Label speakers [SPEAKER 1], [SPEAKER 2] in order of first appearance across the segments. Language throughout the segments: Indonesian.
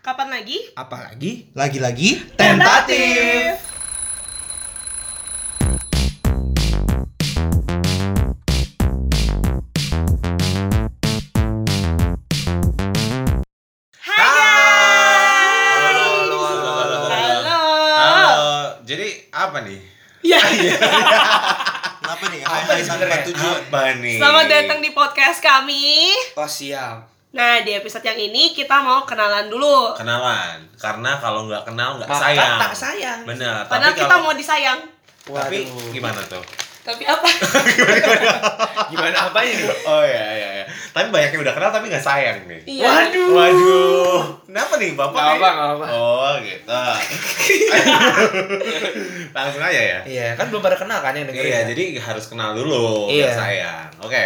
[SPEAKER 1] Kapan lagi?
[SPEAKER 2] Apalagi
[SPEAKER 3] Lagi-lagi
[SPEAKER 2] tentatif.
[SPEAKER 1] Hai
[SPEAKER 2] Halo,
[SPEAKER 1] guys.
[SPEAKER 2] halo, halo, halo, halo.
[SPEAKER 1] Halo.
[SPEAKER 2] Halo, jadi apa nih?
[SPEAKER 1] Ya.
[SPEAKER 3] Kenapa nih?
[SPEAKER 2] Apa nih
[SPEAKER 3] tanpa
[SPEAKER 2] sebenarnya?
[SPEAKER 3] tujuan?
[SPEAKER 2] Apa nih?
[SPEAKER 1] Selamat datang di podcast kami.
[SPEAKER 4] Oh siap.
[SPEAKER 1] Nah, di episode yang ini kita mau kenalan dulu.
[SPEAKER 2] kenalan. Karena kalau nggak kenal nggak
[SPEAKER 4] Maka
[SPEAKER 2] sayang.
[SPEAKER 4] tak sayang.
[SPEAKER 2] Benar.
[SPEAKER 1] Padahal
[SPEAKER 2] tapi
[SPEAKER 1] kita
[SPEAKER 2] kalau-
[SPEAKER 1] mau disayang.
[SPEAKER 2] Tapi
[SPEAKER 4] Waduh.
[SPEAKER 2] gimana tuh?
[SPEAKER 1] Tapi apa?
[SPEAKER 2] Gimana apanya nih? Oh iya iya iya. Tapi banyak yang udah kenal tapi nggak sayang nih.
[SPEAKER 1] Iya.
[SPEAKER 4] Waduh.
[SPEAKER 2] Waduh. Kenapa nih Bapak?
[SPEAKER 4] Nggak
[SPEAKER 2] nih?
[SPEAKER 4] apa, nggak apa.
[SPEAKER 2] Oh, gitu. Langsung aja ya.
[SPEAKER 4] Iya, kan belum pada kenal kan yang dengerin.
[SPEAKER 2] Iya,
[SPEAKER 4] ya?
[SPEAKER 2] jadi harus kenal dulu
[SPEAKER 4] Iya.
[SPEAKER 2] biar sayang. Oke.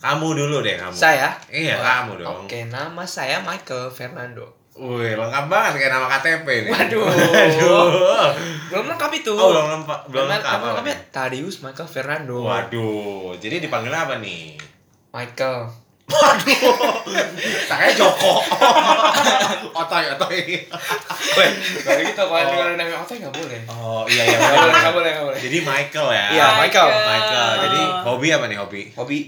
[SPEAKER 2] Kamu dulu deh kamu.
[SPEAKER 4] saya.
[SPEAKER 2] Iya,
[SPEAKER 4] Oh,
[SPEAKER 2] kamu dong.
[SPEAKER 4] Oke, nama saya Michael Fernando.
[SPEAKER 2] Wih, lengkap banget kayak nama KTP nih.
[SPEAKER 4] Waduh.
[SPEAKER 2] Waduh.
[SPEAKER 4] Belum lengkap itu.
[SPEAKER 2] Oh, belum lengkap, belum
[SPEAKER 4] Belum oh, iya.
[SPEAKER 2] lengkap. apa
[SPEAKER 4] lengkapnya
[SPEAKER 2] nih?
[SPEAKER 4] Tadius Michael Fernando.
[SPEAKER 2] Waduh, jadi dipanggil apa nih?
[SPEAKER 4] Michael.
[SPEAKER 2] Saya Joko. otoy, otoy. Weh.
[SPEAKER 4] Kayak gitu kalau
[SPEAKER 2] Oh.
[SPEAKER 4] dengerin nama otak nggak boleh.
[SPEAKER 2] Oh, iya iya.
[SPEAKER 4] Nggak boleh,
[SPEAKER 2] bener.
[SPEAKER 4] nggak boleh, nggak boleh.
[SPEAKER 2] Jadi Michael ya.
[SPEAKER 4] Iya, Michael.
[SPEAKER 2] Michael. Jadi
[SPEAKER 1] Oh.
[SPEAKER 2] hobi apa nih hobi?
[SPEAKER 4] Hobi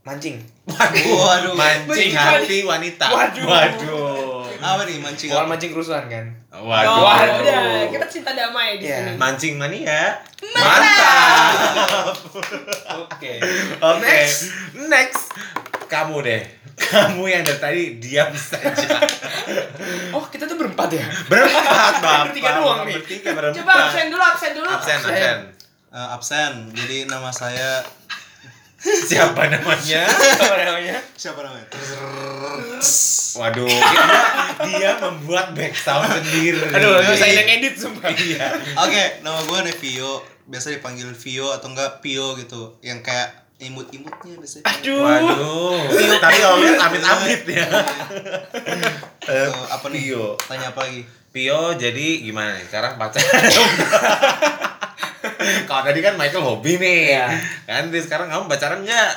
[SPEAKER 4] mancing.
[SPEAKER 2] Waduh.
[SPEAKER 3] Waduh.
[SPEAKER 2] Mancing
[SPEAKER 1] Bukan.
[SPEAKER 2] hati wanita.
[SPEAKER 4] Waduh.
[SPEAKER 2] Waduh.
[SPEAKER 3] Apa nih mancing?
[SPEAKER 4] Bukan mancing kerusuhan kan?
[SPEAKER 2] Waduh.
[SPEAKER 1] Oh,
[SPEAKER 4] Waduh.
[SPEAKER 1] udah. Kita cinta damai di
[SPEAKER 4] Iya.
[SPEAKER 1] sini.
[SPEAKER 2] Mancing mania.
[SPEAKER 1] Mantap.
[SPEAKER 4] Oke.
[SPEAKER 2] Oke.
[SPEAKER 4] Next.
[SPEAKER 2] Next. Kamu deh. Kamu yang dari tadi diam saja.
[SPEAKER 4] Oh, kita tuh berempat ya?
[SPEAKER 2] Berempat, Bapak.
[SPEAKER 4] Bertiga doang nih.
[SPEAKER 2] Bertiga, berempat.
[SPEAKER 1] Coba absen dulu, absen dulu.
[SPEAKER 2] Absen, absen.
[SPEAKER 3] Eh, absen. Jadi nama saya
[SPEAKER 2] Siapa namanya?
[SPEAKER 4] Ya, Apa namanya?
[SPEAKER 3] siapa namanya?
[SPEAKER 2] Waduh, dia, dia membuat back sound sendiri.
[SPEAKER 4] Aduh, itu saya yang edit sumpah.
[SPEAKER 2] Iya.
[SPEAKER 3] Oke, nama gue Nevio. Biasa dipanggil Vio atau enggak Pio gitu. Yang kayak imut-imutnya biasanya.
[SPEAKER 4] Aduh.
[SPEAKER 2] Waduh. Tapi kalau lihat amit-amit ya.
[SPEAKER 3] Gitu.
[SPEAKER 2] Eh,
[SPEAKER 3] apa nih?
[SPEAKER 2] Pio.
[SPEAKER 3] Tanya apa lagi?
[SPEAKER 2] Pio jadi gimana nih? Sekarang pacaran. kalau tadi kan Michael hobi nih.
[SPEAKER 4] Iya.
[SPEAKER 2] Kan dia sekarang kamu pacaran enggak?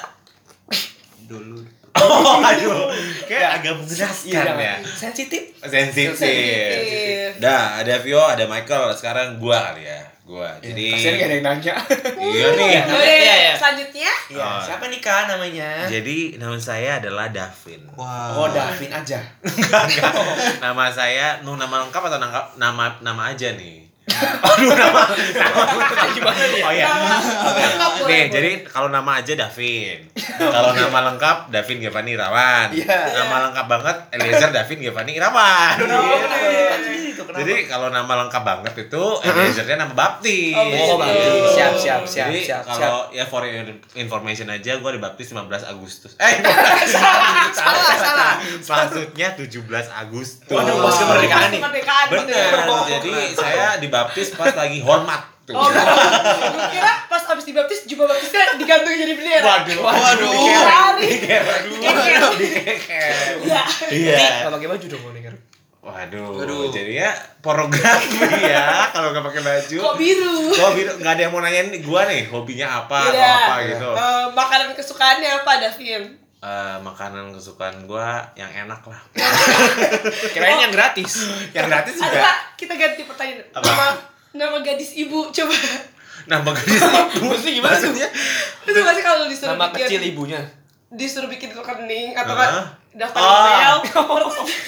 [SPEAKER 3] Dulu.
[SPEAKER 2] Oh, aduh.
[SPEAKER 4] Ya.
[SPEAKER 2] Kayak agak menjelaskan
[SPEAKER 4] Iya,
[SPEAKER 2] ya.
[SPEAKER 4] jangan. sensitif. Iya,
[SPEAKER 1] Iya.
[SPEAKER 2] Sensitif. Dah, ada Vio, ada Michael. Sekarang gua kali ya. Gua. Jadi
[SPEAKER 4] Kasian gak Iya, ada yang nanya.
[SPEAKER 2] Iya nih.
[SPEAKER 1] Oke,
[SPEAKER 4] Iya, iya.
[SPEAKER 1] selanjutnya.
[SPEAKER 4] Iya,
[SPEAKER 2] Oh.
[SPEAKER 4] siapa nih Kak namanya?
[SPEAKER 2] Jadi nama saya adalah Davin.
[SPEAKER 3] Wah.
[SPEAKER 4] Oh, Davin aja.
[SPEAKER 2] Nama saya, nu nama lengkap atau nangka- nama nama aja nih. Aduh nama. nama gimana nih? Oh iya.
[SPEAKER 1] Nggak boleh,
[SPEAKER 2] Nih,
[SPEAKER 1] boleh.
[SPEAKER 2] jadi kalau nama aja Davin. Kalau nama lengkap Davin Gevani Irawan.
[SPEAKER 4] Iya.
[SPEAKER 2] Nama lengkap banget Eliezer Davin Gevani Irawan.
[SPEAKER 4] Kenapa?
[SPEAKER 2] Iya.
[SPEAKER 4] Kenapa? Kan sendiri tuh, kenapa?
[SPEAKER 2] Jadi kalau nama lengkap banget itu Eliezernya nama baptis.
[SPEAKER 1] Oh,
[SPEAKER 4] Oh, Bang.
[SPEAKER 1] Gitu.
[SPEAKER 4] Siap, siap, siap,
[SPEAKER 2] Jadi
[SPEAKER 4] siap, siap.
[SPEAKER 2] kalau ya for your information aja gue dibaptis 15 Agustus. Eh,
[SPEAKER 1] Ah,
[SPEAKER 2] salah,
[SPEAKER 4] Iya.
[SPEAKER 2] salah, salah. Maksudnya 17 Agustus.
[SPEAKER 4] Waduh,
[SPEAKER 3] pas
[SPEAKER 4] kemerdekaan nih.
[SPEAKER 1] Kemerdekaan.
[SPEAKER 2] Bener.
[SPEAKER 3] Oh,
[SPEAKER 2] Jadi
[SPEAKER 3] keren.
[SPEAKER 2] saya dibaptis pas lagi hormat tuh.
[SPEAKER 1] Oh, gue kira pas abis dibaptis jubah baptisnya digantung jadi bendera.
[SPEAKER 2] Waduh,
[SPEAKER 3] Waduh.
[SPEAKER 1] Lari.
[SPEAKER 2] Waduh, dikeket.
[SPEAKER 1] Ya.
[SPEAKER 2] Iya.
[SPEAKER 4] Gak pakai baju dong, nih kan?
[SPEAKER 2] Waduh,
[SPEAKER 3] Waduh.
[SPEAKER 2] jadinya pornografi ya kalau nggak pakai baju.
[SPEAKER 1] Kok biru?
[SPEAKER 2] Gua biru- nggak ada yang mau nanyain gua nih hobinya apa atau
[SPEAKER 1] Iya.
[SPEAKER 2] apa gitu.
[SPEAKER 1] Eh, makanan kesukaannya apa, Davin?
[SPEAKER 2] Eh, makanan kesukaan gua yang enak lah.
[SPEAKER 4] Kirain yang gratis.
[SPEAKER 2] yang gratis
[SPEAKER 1] Ada
[SPEAKER 2] juga.
[SPEAKER 1] Kak, kita ganti pertanyaan.
[SPEAKER 2] Apa?
[SPEAKER 1] Nama nama gadis ibu coba.
[SPEAKER 2] Nama gadis ibu.
[SPEAKER 4] Maksudnya gimana tuh?
[SPEAKER 2] Maksudnya,
[SPEAKER 1] Itu nggak sih kalau disuruh
[SPEAKER 4] Nama
[SPEAKER 1] bikin
[SPEAKER 4] kecil ibunya.
[SPEAKER 1] disuruh bikin rekening atau
[SPEAKER 2] Hah?
[SPEAKER 1] kan daftar
[SPEAKER 2] Ah.
[SPEAKER 1] email.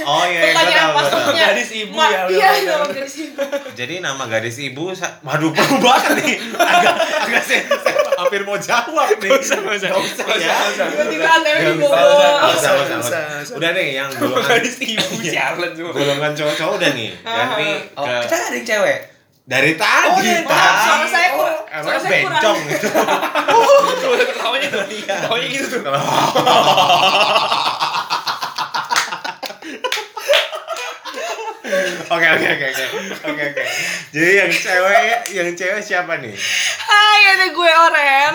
[SPEAKER 2] Oh iya,
[SPEAKER 1] Pertanyaan
[SPEAKER 2] iya, gua tahu, gua tahu.
[SPEAKER 1] passwordnya.
[SPEAKER 4] Gadis ibu
[SPEAKER 1] Ma-
[SPEAKER 4] ya, udah
[SPEAKER 1] Iya,
[SPEAKER 4] bener.
[SPEAKER 1] nama gadis ibu.
[SPEAKER 2] Jadi nama gadis ibu, sa- waduh perlu banget nih. Agak, agak saya, saya hampir mau jawab nih. Gak usah, gak usah, ya.
[SPEAKER 4] Gak usah, gak
[SPEAKER 1] Tiba-tiba ATM
[SPEAKER 2] Gak usah,
[SPEAKER 1] dibobol.
[SPEAKER 2] gak usah, gak usah,
[SPEAKER 4] Gak usah, gak usah.
[SPEAKER 2] Udah nih yang golongan
[SPEAKER 4] Gadis ibu sialan semua.
[SPEAKER 2] golongan cowok-cowok udah nih. Ganti
[SPEAKER 4] Oh,
[SPEAKER 2] ke
[SPEAKER 4] kita gak ada yang cewek.
[SPEAKER 2] dari tadi.
[SPEAKER 4] Oh, dari
[SPEAKER 2] Pak.
[SPEAKER 4] tadi.
[SPEAKER 1] Suara saya
[SPEAKER 4] Oh,
[SPEAKER 1] kurang.
[SPEAKER 2] Emang
[SPEAKER 1] Suara saya kurang.
[SPEAKER 2] bencong gitu.
[SPEAKER 4] iya. Ketawanya tuh. Ketawanya gitu tuh.
[SPEAKER 2] Oke oke oke oke oke oke. Jadi yang cewek yang cewek siapa nih?
[SPEAKER 1] Hai, ada gue Oren.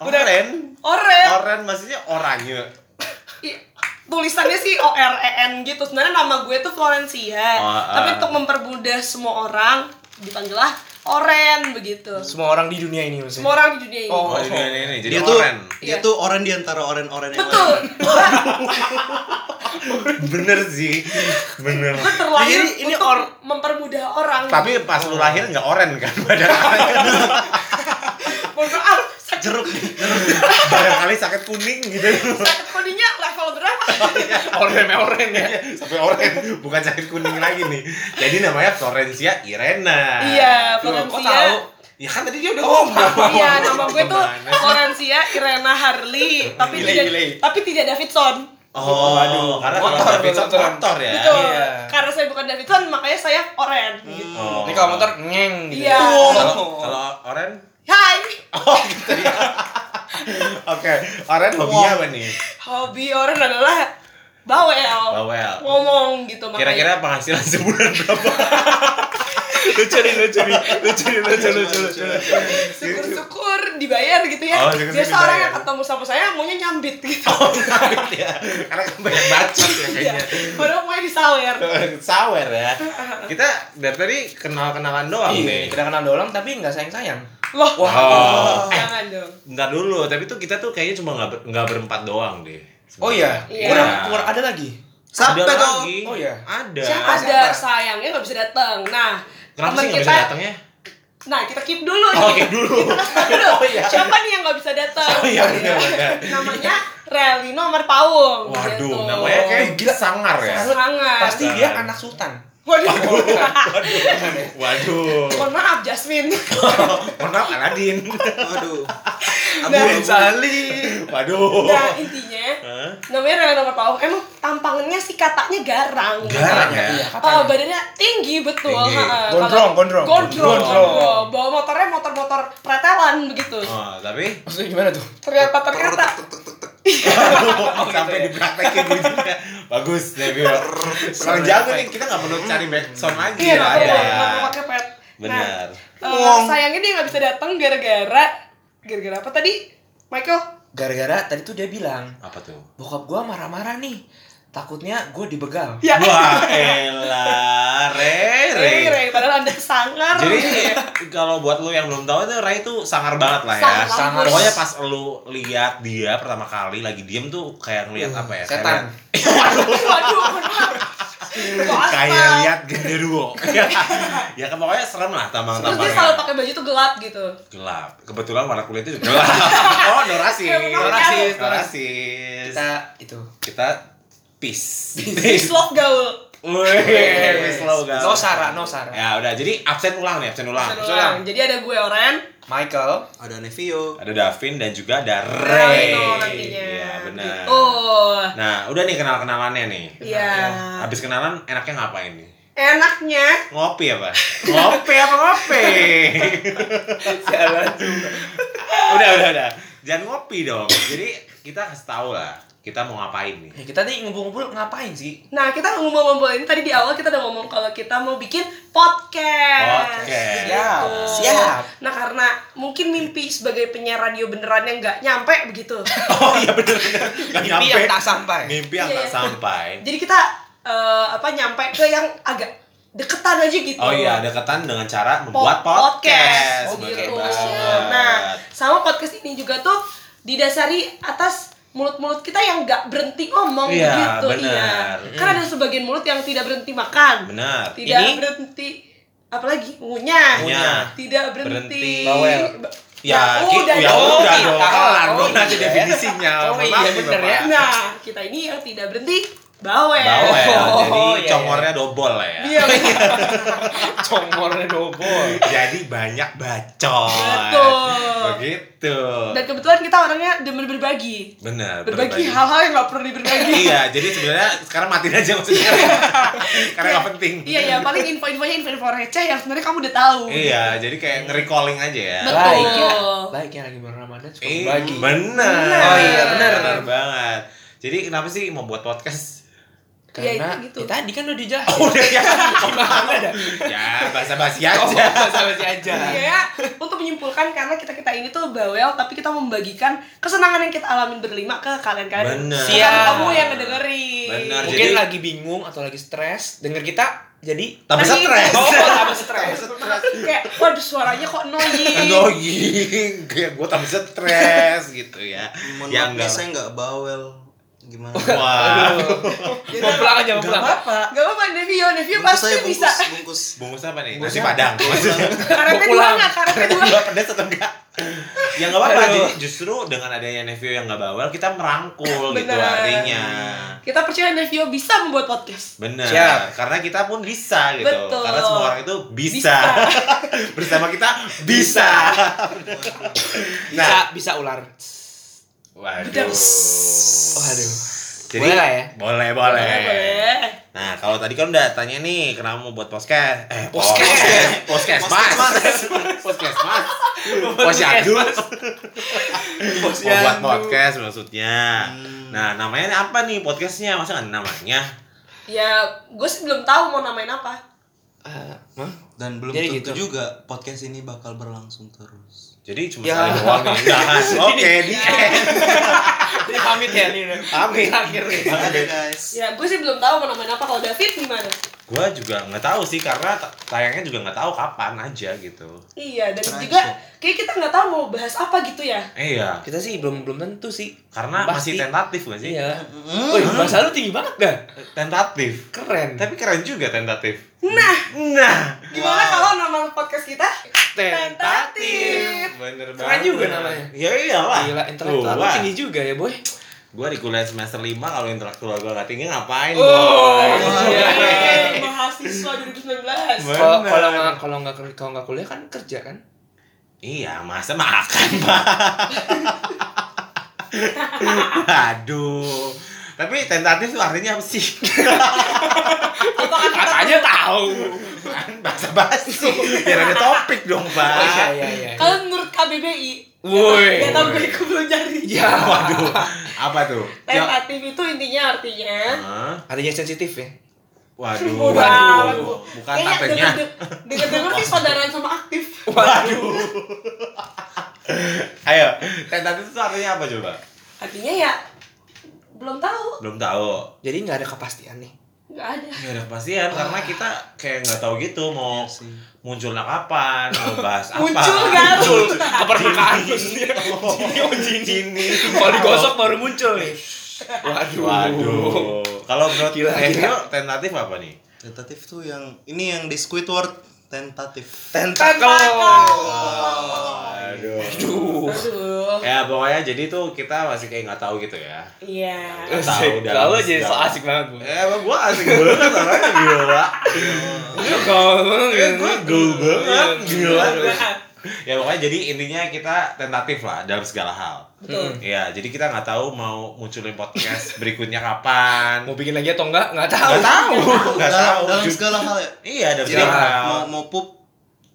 [SPEAKER 2] Oren.
[SPEAKER 1] Oren.
[SPEAKER 2] Oren maksudnya ya. oranye.
[SPEAKER 1] I- tulisannya sih O R E N gitu. Sebenarnya nama gue tuh Florencia.
[SPEAKER 2] Oh, ah.
[SPEAKER 1] Tapi untuk mempermudah semua orang dipanggillah oren begitu.
[SPEAKER 4] Semua orang di dunia ini maksudnya.
[SPEAKER 1] Semua orang di dunia ini.
[SPEAKER 4] Oh.
[SPEAKER 2] Oh, ini ini ini. Jadi
[SPEAKER 3] dia tuh
[SPEAKER 2] oren.
[SPEAKER 3] dia
[SPEAKER 1] Iya.
[SPEAKER 3] tuh orang di antara orang-orang yang
[SPEAKER 1] Betul.
[SPEAKER 3] lain.
[SPEAKER 1] Gua,
[SPEAKER 2] Bener sih. Bener.
[SPEAKER 1] gua terlahir
[SPEAKER 4] Jadi ini
[SPEAKER 1] untuk
[SPEAKER 4] or-
[SPEAKER 1] mempermudah orang.
[SPEAKER 2] Tapi pas lu lahir nggak oren kan badan
[SPEAKER 1] Mohon maaf, sakit,
[SPEAKER 3] jeruk nih, jeruk
[SPEAKER 2] barangkali sakit kuning gitu.
[SPEAKER 1] sakit kuningnya level berapa?
[SPEAKER 4] Oren oren ya.
[SPEAKER 2] Sampai oren, bukan sakit kuning lagi nih. Jadi namanya Florencia Irena.
[SPEAKER 1] Iya,
[SPEAKER 4] Loh, kok
[SPEAKER 1] Florencia.
[SPEAKER 4] tahu?
[SPEAKER 2] Ya kan tadi dia udah ngomong.
[SPEAKER 1] Iya, nama gue tuh
[SPEAKER 2] Gimana sih?
[SPEAKER 1] Florencia Irena Harley, tapi
[SPEAKER 4] Gile,
[SPEAKER 1] tidak
[SPEAKER 4] gile.
[SPEAKER 1] tapi tidak Davidson.
[SPEAKER 2] Oh,
[SPEAKER 4] Waduh,
[SPEAKER 2] karena
[SPEAKER 4] motor,
[SPEAKER 2] motor, motor,
[SPEAKER 4] motor.
[SPEAKER 2] motor ya.
[SPEAKER 1] Betul.
[SPEAKER 4] iya.
[SPEAKER 1] Karena saya bukan Davidson, makanya saya Oren gitu.
[SPEAKER 2] Oh. ya.
[SPEAKER 4] Ini kalau motor ngeng gitu.
[SPEAKER 1] Iya.
[SPEAKER 2] Kalau kalau oren
[SPEAKER 1] Hai,
[SPEAKER 2] Oh gitu ya. Oke, oren hobinya apa nih?
[SPEAKER 1] hobi Oren adalah bawel.
[SPEAKER 2] Bawel.
[SPEAKER 1] Ngomong gitu makanya.
[SPEAKER 2] Kira-kira penghasilan sebulan berapa?
[SPEAKER 4] lucu nih, lucu nih, lucu nih, lucu, lucu, lucu, lucu.
[SPEAKER 1] syukur-syukur dibayar gitu ya.
[SPEAKER 2] Oh, syukur-syukur
[SPEAKER 1] Biasa orang
[SPEAKER 2] dibayar.
[SPEAKER 1] yang ketemu sama saya maunya nyambit gitu.
[SPEAKER 2] Oh, ngawin ya. Karena kan banyak bacot ya
[SPEAKER 1] Iya.
[SPEAKER 2] kayaknya.
[SPEAKER 1] Baru mau disawer.
[SPEAKER 2] Sawer ya. Kita dari tadi kenal-kenalan doang
[SPEAKER 4] Iya,
[SPEAKER 2] nih.
[SPEAKER 4] tidak kenal dolang tapi nggak sayang-sayang.
[SPEAKER 1] Wah.
[SPEAKER 4] Wah.
[SPEAKER 2] Oh.
[SPEAKER 1] Jangan dong.
[SPEAKER 2] Bentar dulu, tapi tuh kita tuh kayaknya cuma nggak ber- nggak berempat doang deh.
[SPEAKER 4] Oh iya,
[SPEAKER 1] Iya.
[SPEAKER 4] kurang kurang ada lagi.
[SPEAKER 3] Sabda
[SPEAKER 2] ada
[SPEAKER 3] dong.
[SPEAKER 2] lagi.
[SPEAKER 4] Oh iya.
[SPEAKER 2] Ada.
[SPEAKER 1] Siapa ada sayangnya nggak bisa datang. Nah,
[SPEAKER 2] Ya, ah,
[SPEAKER 1] teman
[SPEAKER 2] Kenapa sih nggak
[SPEAKER 1] kita-
[SPEAKER 2] bisa datangnya?
[SPEAKER 1] Nah, kita keep dulu nih.
[SPEAKER 2] Oke dulu.
[SPEAKER 1] Aduh,
[SPEAKER 2] Oh, iya.
[SPEAKER 1] Siapa nih yang nggak bisa datang?
[SPEAKER 2] Oh, iya, benar, benar.
[SPEAKER 1] Namanya Relino Marpaung.
[SPEAKER 2] Waduh,
[SPEAKER 1] gitu.
[SPEAKER 2] namanya kayak gila sangar ya.
[SPEAKER 1] Serangan.
[SPEAKER 4] Pasti dia
[SPEAKER 2] Sayang.
[SPEAKER 4] anak sultan.
[SPEAKER 1] Waduh.
[SPEAKER 2] Waduh.
[SPEAKER 1] Mohon maaf Jasmine.
[SPEAKER 2] Kenapa Aladin?
[SPEAKER 3] Waduh.
[SPEAKER 1] Nah,
[SPEAKER 3] Abu-abu.
[SPEAKER 4] Sali.
[SPEAKER 2] Waduh.
[SPEAKER 1] Nah, intinya
[SPEAKER 2] Hah?
[SPEAKER 1] namanya Relino Marpaung. Emang tampangannya sih katanya garang.
[SPEAKER 2] Garang ya?
[SPEAKER 4] Iya,
[SPEAKER 1] Oh,
[SPEAKER 4] katanya.
[SPEAKER 1] badannya tinggi betul.
[SPEAKER 2] Tinggi.
[SPEAKER 1] ha-ha.
[SPEAKER 4] Gondrong,
[SPEAKER 1] Kalau- gondrong,
[SPEAKER 4] gondrong. Gondrong.
[SPEAKER 1] gondrong. Bawa motornya motor-motor pretelan begitu.
[SPEAKER 2] Oh, tapi
[SPEAKER 4] Maksudnya gimana tuh?
[SPEAKER 1] Ternyata ternyata
[SPEAKER 2] sampai dipraktekin gitu ya. Bagus deh gue. Sekarang jago nih kita nggak perlu cari backsound lagi.
[SPEAKER 1] Iya, nggak perlu,
[SPEAKER 2] ada.
[SPEAKER 1] nggak perlu pakai pet. Nah,
[SPEAKER 2] Benar.
[SPEAKER 1] eh, sayangnya dia nggak bisa datang gara-gara gara-gara apa tadi? Michael,
[SPEAKER 4] Gara-gara tadi tuh dia bilang,
[SPEAKER 2] Apa tuh?
[SPEAKER 4] bokap gua marah-marah nih. Takutnya gua dibegal.
[SPEAKER 1] ya.
[SPEAKER 2] Wah, elah,
[SPEAKER 1] Rey,
[SPEAKER 2] Rere.
[SPEAKER 1] Rey, padahal anda sangar. Iya.
[SPEAKER 2] Jadi kalau buat lu yang belum tahu tuh Ray tuh sangar banget lah ya.
[SPEAKER 1] Sangar.
[SPEAKER 4] Sangar.
[SPEAKER 2] Pokoknya pas lu lihat dia pertama kali lagi diem tuh kayak ngeliat
[SPEAKER 1] Uh,
[SPEAKER 2] apa ya? Kayak
[SPEAKER 4] Setan.
[SPEAKER 1] waduh, benar.
[SPEAKER 2] liat-
[SPEAKER 1] Koastal.
[SPEAKER 2] Kayak lihat genderuwo. ya, ya kan pokoknya serem lah
[SPEAKER 1] Terus dia selalu
[SPEAKER 2] tampang-tampangnya.
[SPEAKER 1] pakai baju tuh gelap gitu.
[SPEAKER 2] Gelap. Kebetulan warna kulitnya juga gelap. oh, norasis.
[SPEAKER 1] Ya, benar.
[SPEAKER 2] Norasis, norasis.
[SPEAKER 4] Kita itu.
[SPEAKER 2] Kita peace.
[SPEAKER 1] Slok gaul.
[SPEAKER 2] Wih, peace Iya, slow guys.
[SPEAKER 4] No Sarah, no Sarah.
[SPEAKER 2] Ya udah, jadi absen ulang nih, absen ulang.
[SPEAKER 1] Seru orang. Jadi ada gue Oren.
[SPEAKER 4] Michael.
[SPEAKER 3] Ada Nevio.
[SPEAKER 2] Ada Davin dan juga ada
[SPEAKER 1] Rey
[SPEAKER 2] Ray.
[SPEAKER 1] nantinya.
[SPEAKER 2] Iya, benar.
[SPEAKER 1] Oh,
[SPEAKER 2] Nah, udah nih kenal-kenalannya nih.
[SPEAKER 1] iya.
[SPEAKER 2] ya. Habis kenalan enaknya ngapain nih?
[SPEAKER 1] Enaknya
[SPEAKER 2] Ngopi apa? Ngopi apa ngopi?
[SPEAKER 4] Jalan juga.
[SPEAKER 2] udah, udah, udah. Jangan ngopi dong. Jadi kita kasih tahu lah kita mau ngapain nih.
[SPEAKER 4] Ya, kita nih ngumpul-ngumpul ngapain sih?
[SPEAKER 1] Nah, kita ngumpul-ngumpul ini tadi di awal kita udah ngomong kalau kita mau bikin podcast.
[SPEAKER 2] Podcast.
[SPEAKER 4] Siap.
[SPEAKER 1] Gitu.
[SPEAKER 4] Siap.
[SPEAKER 1] Nah, karena mungkin mimpi sebagai penyiar radio beneran yang nggak nyampe begitu.
[SPEAKER 2] Oh iya bener bener. Nggak
[SPEAKER 4] Mimpi yang tak sampai.
[SPEAKER 2] Mimpi yang tak
[SPEAKER 1] Iya.
[SPEAKER 2] sampai.
[SPEAKER 1] Jadi kita eh, apa nyampe ke yang agak deketan aja gitu.
[SPEAKER 2] Oh iya, deketan dengan cara
[SPEAKER 1] Po-
[SPEAKER 2] membuat podcast.
[SPEAKER 1] podcast.
[SPEAKER 2] Oh, Bener
[SPEAKER 1] gitu.
[SPEAKER 2] banget.
[SPEAKER 1] Nah, sama podcast ini juga tuh didasari atas mulut-mulut kita yang nggak berhenti ngomong
[SPEAKER 2] Iya,
[SPEAKER 1] gitu.
[SPEAKER 2] benar.
[SPEAKER 1] Iya. Karena ada sebagian mulut yang tidak berhenti makan.
[SPEAKER 2] benar.
[SPEAKER 1] tidak
[SPEAKER 4] Ini-
[SPEAKER 1] berhenti apalagi ngunyah
[SPEAKER 2] Ngunyah.
[SPEAKER 1] tidak berhenti,
[SPEAKER 2] Berhenti.
[SPEAKER 4] Bawel.
[SPEAKER 1] Ba-
[SPEAKER 2] Ya,
[SPEAKER 1] Oh, udah
[SPEAKER 2] gitu ya
[SPEAKER 1] dong. Iya,
[SPEAKER 4] dong.
[SPEAKER 2] udah dong.
[SPEAKER 4] Kita-
[SPEAKER 2] Kelar
[SPEAKER 4] oh,
[SPEAKER 2] dong nanti
[SPEAKER 4] iya.
[SPEAKER 2] definisinya.
[SPEAKER 4] Oh,
[SPEAKER 2] Mohon
[SPEAKER 4] iya,
[SPEAKER 2] maaf nih,
[SPEAKER 4] bener
[SPEAKER 2] Bapak.
[SPEAKER 4] ya.
[SPEAKER 1] nah kita ini yang tidak berhenti bawel,
[SPEAKER 2] Bawel,
[SPEAKER 4] Oh,
[SPEAKER 2] jadi
[SPEAKER 4] iya.
[SPEAKER 2] congornya dobol lah ya.
[SPEAKER 1] Iya, betul.
[SPEAKER 4] Congornya dobol.
[SPEAKER 2] Jadi banyak bacot.
[SPEAKER 1] Betul.
[SPEAKER 2] Begitu.
[SPEAKER 1] dan kebetulan kita orangnya demen berbagi
[SPEAKER 2] Bener.
[SPEAKER 1] berbagi hal-hal yang gak perlu diberbagi
[SPEAKER 2] iya, jadi sebenarnya sekarang matiin aja maksudnya. Karena nggak penting.
[SPEAKER 1] iya ya paling info-infonya info-info receh yang sebenarnya kamu udah tahu
[SPEAKER 2] Iya, jadi kayak nge-recalling aja ya.
[SPEAKER 1] Betul.
[SPEAKER 4] Baik ya. Baik ya lagi bulan Ramadan suka
[SPEAKER 2] Eh,
[SPEAKER 4] bagi.
[SPEAKER 2] bener.
[SPEAKER 1] Oh iya,
[SPEAKER 2] bener.
[SPEAKER 1] bener.
[SPEAKER 2] banget. Jadi kenapa sih mau buat podcast?
[SPEAKER 1] Ya,
[SPEAKER 4] Karena
[SPEAKER 1] itu gitu.
[SPEAKER 4] ya, tadi kan udah dijelasin.
[SPEAKER 2] Oh, udah ya.
[SPEAKER 4] Gimana dah?
[SPEAKER 2] ya, basa-basi
[SPEAKER 4] Oh,
[SPEAKER 2] aja.
[SPEAKER 4] sama si aja.
[SPEAKER 1] Iya, untuk menyimpulkan karena kita kita ini tuh bawel, tapi kita membagikan kesenangan yang kita alamin berlima ke kalian-kalian.
[SPEAKER 2] Bener. Iya.
[SPEAKER 1] Terutama
[SPEAKER 2] ya.
[SPEAKER 4] Siap.
[SPEAKER 1] kamu yang ngedengerin.
[SPEAKER 4] Nah,
[SPEAKER 2] Bener.
[SPEAKER 4] Mungkin
[SPEAKER 2] Jadi-
[SPEAKER 4] lagi bingung atau lagi stres, denger kita jadi
[SPEAKER 2] Tambah
[SPEAKER 1] Lagi-
[SPEAKER 2] stres.
[SPEAKER 4] oh tambah stres
[SPEAKER 1] kayak waduh suaranya kok annoying
[SPEAKER 2] Annoying, kayak gue tambah stres gitu ya.
[SPEAKER 3] Mohon
[SPEAKER 2] ya
[SPEAKER 3] maaf,
[SPEAKER 2] enggak.
[SPEAKER 3] saya nggak bawel. Gimana?
[SPEAKER 4] Nah.
[SPEAKER 2] Wah.
[SPEAKER 4] mau pulang aja mau
[SPEAKER 2] Enggak
[SPEAKER 4] pulang
[SPEAKER 2] apa-apa.
[SPEAKER 1] Gak apa-apa Nevio, Nevio
[SPEAKER 3] Bungkus
[SPEAKER 1] pasti
[SPEAKER 3] saya
[SPEAKER 1] bisa
[SPEAKER 3] bungkus, bungkus.
[SPEAKER 2] Bungkus apa nih? Nasi
[SPEAKER 3] Bungkus apa?
[SPEAKER 2] padang.
[SPEAKER 1] Karetnya
[SPEAKER 4] Mau
[SPEAKER 1] dua
[SPEAKER 4] pulang.
[SPEAKER 1] gak? Karetnya
[SPEAKER 2] Ternyata
[SPEAKER 1] dua
[SPEAKER 2] gua pedes atau enggak? Ya enggak apa-apa.
[SPEAKER 4] Aduh.
[SPEAKER 2] Jadi justru dengan adanya Nevio yang enggak bawel, kita merangkul gitu
[SPEAKER 1] Bener.
[SPEAKER 2] harinya.
[SPEAKER 1] Kita percaya Nevio bisa membuat podcast
[SPEAKER 2] Bener.
[SPEAKER 4] Siap.
[SPEAKER 2] Karena kita pun bisa gitu.
[SPEAKER 1] Betul.
[SPEAKER 2] Karena semua orang itu bisa. Bersama kita bisa.
[SPEAKER 4] bisa
[SPEAKER 2] Nah,
[SPEAKER 4] bisa ular
[SPEAKER 2] waduh.
[SPEAKER 1] Bedang.
[SPEAKER 4] waduh
[SPEAKER 2] Jadi,
[SPEAKER 4] Boleh lah ya?
[SPEAKER 2] Boleh, boleh. Nah, kalau tadi kan udah tanya nih, kenapa mau buat podcast? Eh,
[SPEAKER 4] Podcast.
[SPEAKER 2] Podcast,
[SPEAKER 3] Podcast,
[SPEAKER 2] mas. Podcast, mas. Posyandu. Mau buat podcast maksudnya.
[SPEAKER 3] Hmm.
[SPEAKER 2] Nah, namanya apa nih podcastnya? Masa nggak ada namanya?
[SPEAKER 1] Ya, gue sih belum tahu mau namain apa
[SPEAKER 4] Eh, mah?
[SPEAKER 3] Dan belum
[SPEAKER 4] Jadi
[SPEAKER 3] tentu
[SPEAKER 4] gitu.
[SPEAKER 3] juga podcast ini bakal berlangsung terus.
[SPEAKER 2] Jadi cuma
[SPEAKER 4] Ya.
[SPEAKER 2] sekali doang nih. Nah, Oke, di
[SPEAKER 4] Ini pamit ya nih. nih.
[SPEAKER 2] Pamit.
[SPEAKER 4] Terakhir nih.
[SPEAKER 3] Ada guys.
[SPEAKER 1] Ya, gue sih belum tahu mau namain apa Kalau David gimana?
[SPEAKER 2] Gua juga nggak tahu sih karena ta- tayangnya juga nggak tahu kapan aja gitu.
[SPEAKER 1] Iya, dan
[SPEAKER 3] Keren
[SPEAKER 1] juga
[SPEAKER 3] sih.
[SPEAKER 1] kayak kita nggak tahu mau bahas apa gitu ya
[SPEAKER 2] Eh iya,
[SPEAKER 4] Kita sih belum belum tentu sih.
[SPEAKER 2] karena
[SPEAKER 4] Pasti.
[SPEAKER 2] masih tentatif gak sih? Hmm.
[SPEAKER 4] Iya. Wih, bahasa lu tinggi banget dah.
[SPEAKER 2] Tentatif.
[SPEAKER 4] Keren.
[SPEAKER 2] Tapi keren juga tentatif.
[SPEAKER 1] Nah,
[SPEAKER 2] Nah,
[SPEAKER 1] gimana
[SPEAKER 3] Wow.
[SPEAKER 1] kalau nama podcast kita? Tentatif.
[SPEAKER 2] Bener banget.
[SPEAKER 4] Keren juga namanya.
[SPEAKER 2] Ya iyalah.
[SPEAKER 4] Gila, intelektual lu
[SPEAKER 2] Wah.
[SPEAKER 4] tinggi juga ya, Boy.
[SPEAKER 2] Gua di kuliah semester 5 kalau intelektual gua gak tinggi ngapain?
[SPEAKER 4] Oh,
[SPEAKER 2] Boy?
[SPEAKER 4] iya.
[SPEAKER 1] Yeay, mahasiswa 2019
[SPEAKER 2] Bener.
[SPEAKER 4] Kalau kalau nggak kalau nggak ker- kalau nggak kuliah kan kerja kan?
[SPEAKER 2] Iya, masa makan, Pak? Aduh. Tapi tentatif itu artinya apa sih?
[SPEAKER 1] Atau kan kita
[SPEAKER 4] Katanya tahu.
[SPEAKER 2] Bahasa basi. Biar ada topik dong, Pak.
[SPEAKER 4] Oh iya iya iya.
[SPEAKER 1] Kalau menurut KBBI
[SPEAKER 4] Woi.
[SPEAKER 1] ya, Gak tau gue gue belum nyari
[SPEAKER 4] Ya.
[SPEAKER 2] Waduh, apa tuh? Ya.
[SPEAKER 1] Tentatif itu intinya artinya
[SPEAKER 2] Hah?
[SPEAKER 4] Artinya sensitif ya.
[SPEAKER 2] Waduh.
[SPEAKER 1] Wow.
[SPEAKER 2] Waduh. Bukan
[SPEAKER 1] Kayaknya
[SPEAKER 2] Kan tapenya.
[SPEAKER 1] denger-denger Iya, sih saudaraan sama aktif
[SPEAKER 4] Waduh.
[SPEAKER 2] Ayo, tentatif itu artinya apa coba?
[SPEAKER 1] Artinya ya belum tahu
[SPEAKER 2] Belum tahu.
[SPEAKER 4] Jadi nggak ada kepastian nih.
[SPEAKER 1] Gak ada
[SPEAKER 2] Gak ada kepastian karena kita kayak nggak tahu gitu mau
[SPEAKER 3] Iya sih.
[SPEAKER 2] munculnya kapan, mau bahas apa.
[SPEAKER 1] Muncul gak?
[SPEAKER 4] Muncul keperluan maksudnya.
[SPEAKER 2] Gini.
[SPEAKER 4] Kalau digosok baru muncul nih. Waduh.
[SPEAKER 2] Waduh. Kalau menurut
[SPEAKER 4] Gila,
[SPEAKER 2] Evio tentatif apa nih?
[SPEAKER 3] Tentatif tuh yang ini yang di Squidward tentatif.
[SPEAKER 2] Aduh. Uh.
[SPEAKER 4] Aduh.
[SPEAKER 1] Aduh
[SPEAKER 2] Ya pokoknya jadi tuh kita masih kayak nggak tahu gitu ya.
[SPEAKER 1] Iya
[SPEAKER 2] Nggak tahu
[SPEAKER 4] Asik.
[SPEAKER 2] dalam-
[SPEAKER 4] Kalau jadi so
[SPEAKER 2] dalam-
[SPEAKER 4] asik banget gue.
[SPEAKER 2] Eh, emang gua asik banget orangnya gila. Eh, gua gaul banget
[SPEAKER 4] Iya,
[SPEAKER 2] gila.
[SPEAKER 1] Iya,
[SPEAKER 2] Ya pokoknya jadi intinya kita tentatif lah dalam segala hal.
[SPEAKER 1] Betul
[SPEAKER 2] Iya, jadi kita nggak tahu mau munculin podcast berikutnya kapan.
[SPEAKER 4] Mau bikin lagi atau enggak? Enggak tahu.
[SPEAKER 2] Nggak tahu, nggak
[SPEAKER 3] Dalam,
[SPEAKER 2] tahu.
[SPEAKER 3] dalam
[SPEAKER 2] Ju-
[SPEAKER 3] segala hal ya.
[SPEAKER 2] Iya, dalam
[SPEAKER 3] Jadi
[SPEAKER 2] segala hal.
[SPEAKER 3] mau mau pup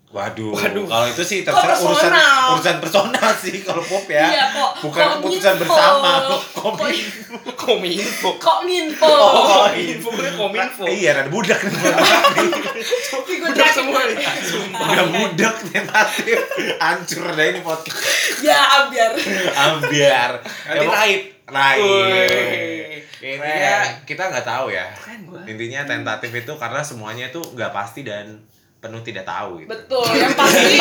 [SPEAKER 2] Waduh,
[SPEAKER 4] Waduh.
[SPEAKER 2] kalau itu sih terserah
[SPEAKER 1] Kok
[SPEAKER 2] urusan
[SPEAKER 1] personal?
[SPEAKER 2] urusan personal sih kalau pop ya.
[SPEAKER 1] Iya, kok-
[SPEAKER 2] Bukan
[SPEAKER 1] kok
[SPEAKER 2] keputusan
[SPEAKER 1] info?
[SPEAKER 2] bersama.
[SPEAKER 1] Kok
[SPEAKER 2] Kopi.
[SPEAKER 4] Kominfo.
[SPEAKER 1] Kok ninfo?
[SPEAKER 4] Oh, info gue kominfo.
[SPEAKER 2] Iya, ada budak nih.
[SPEAKER 1] Tapi gue
[SPEAKER 4] Udah
[SPEAKER 1] jadi-
[SPEAKER 4] semua nih.
[SPEAKER 2] ya, Udah budak tentatif. Hancur deh ini podcast.
[SPEAKER 1] Ya, biar
[SPEAKER 2] Ambiar. Ya,
[SPEAKER 4] Nanti
[SPEAKER 2] Emang-
[SPEAKER 4] raib.
[SPEAKER 2] Raib.
[SPEAKER 4] Wih.
[SPEAKER 2] Intinya kita nggak tahu ya.
[SPEAKER 4] Keren gua.
[SPEAKER 2] Intinya tentatif itu karena semuanya itu nggak pasti dan penuh tidak tahu gitu.
[SPEAKER 1] Betul, yang pasti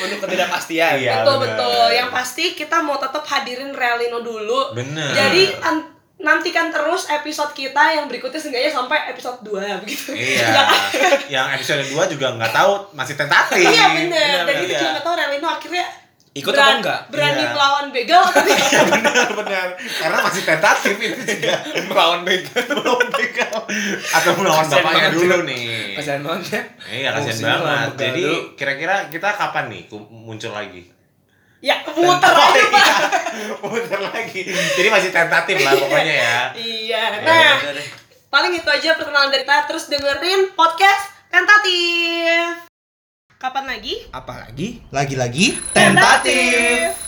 [SPEAKER 4] Penuh ketidakpastian.
[SPEAKER 2] Iya.
[SPEAKER 1] betul
[SPEAKER 2] bener.
[SPEAKER 1] betul yang pasti kita mau tetap hadirin Relino dulu
[SPEAKER 2] Bener.
[SPEAKER 1] jadi an- nantikan terus episode kita yang berikutnya seenggaknya sampai episode 2 begitu
[SPEAKER 2] Iya.
[SPEAKER 1] Ya,
[SPEAKER 2] yang episode 2 juga nggak tahu masih tentatif.
[SPEAKER 1] iya bener dan kita
[SPEAKER 2] iya.
[SPEAKER 1] juga nggak tahu Relino akhirnya
[SPEAKER 4] Ikut
[SPEAKER 1] beran-
[SPEAKER 4] apa enggak?
[SPEAKER 1] berani
[SPEAKER 2] Iya.
[SPEAKER 1] melawan begal atau tidak
[SPEAKER 2] Iya, benar benar. Karena masih tentatif itu juga
[SPEAKER 4] Melawan begal.
[SPEAKER 2] belum begal atau melawan
[SPEAKER 4] Kasian
[SPEAKER 2] bapaknya
[SPEAKER 4] banget.
[SPEAKER 2] dulu nih.
[SPEAKER 4] Kasihan banget ya.
[SPEAKER 2] Iya,
[SPEAKER 4] Fungsi
[SPEAKER 2] kasihan banget.
[SPEAKER 4] melawan begal
[SPEAKER 2] Jadi
[SPEAKER 4] dulu.
[SPEAKER 2] kira-kira kita kapan nih ku- muncul lagi?
[SPEAKER 1] ya muter
[SPEAKER 2] Oh,
[SPEAKER 1] aja
[SPEAKER 2] iya. Muter lagi. Jadi masih tentatif lah pokoknya ya.
[SPEAKER 1] iya nah
[SPEAKER 3] Ya, udah deh.
[SPEAKER 1] paling itu aja perkenalan dari kita terus dengerin podcast tentatif kapan lagi
[SPEAKER 4] Apalagi
[SPEAKER 3] Lagi-lagi tentatif.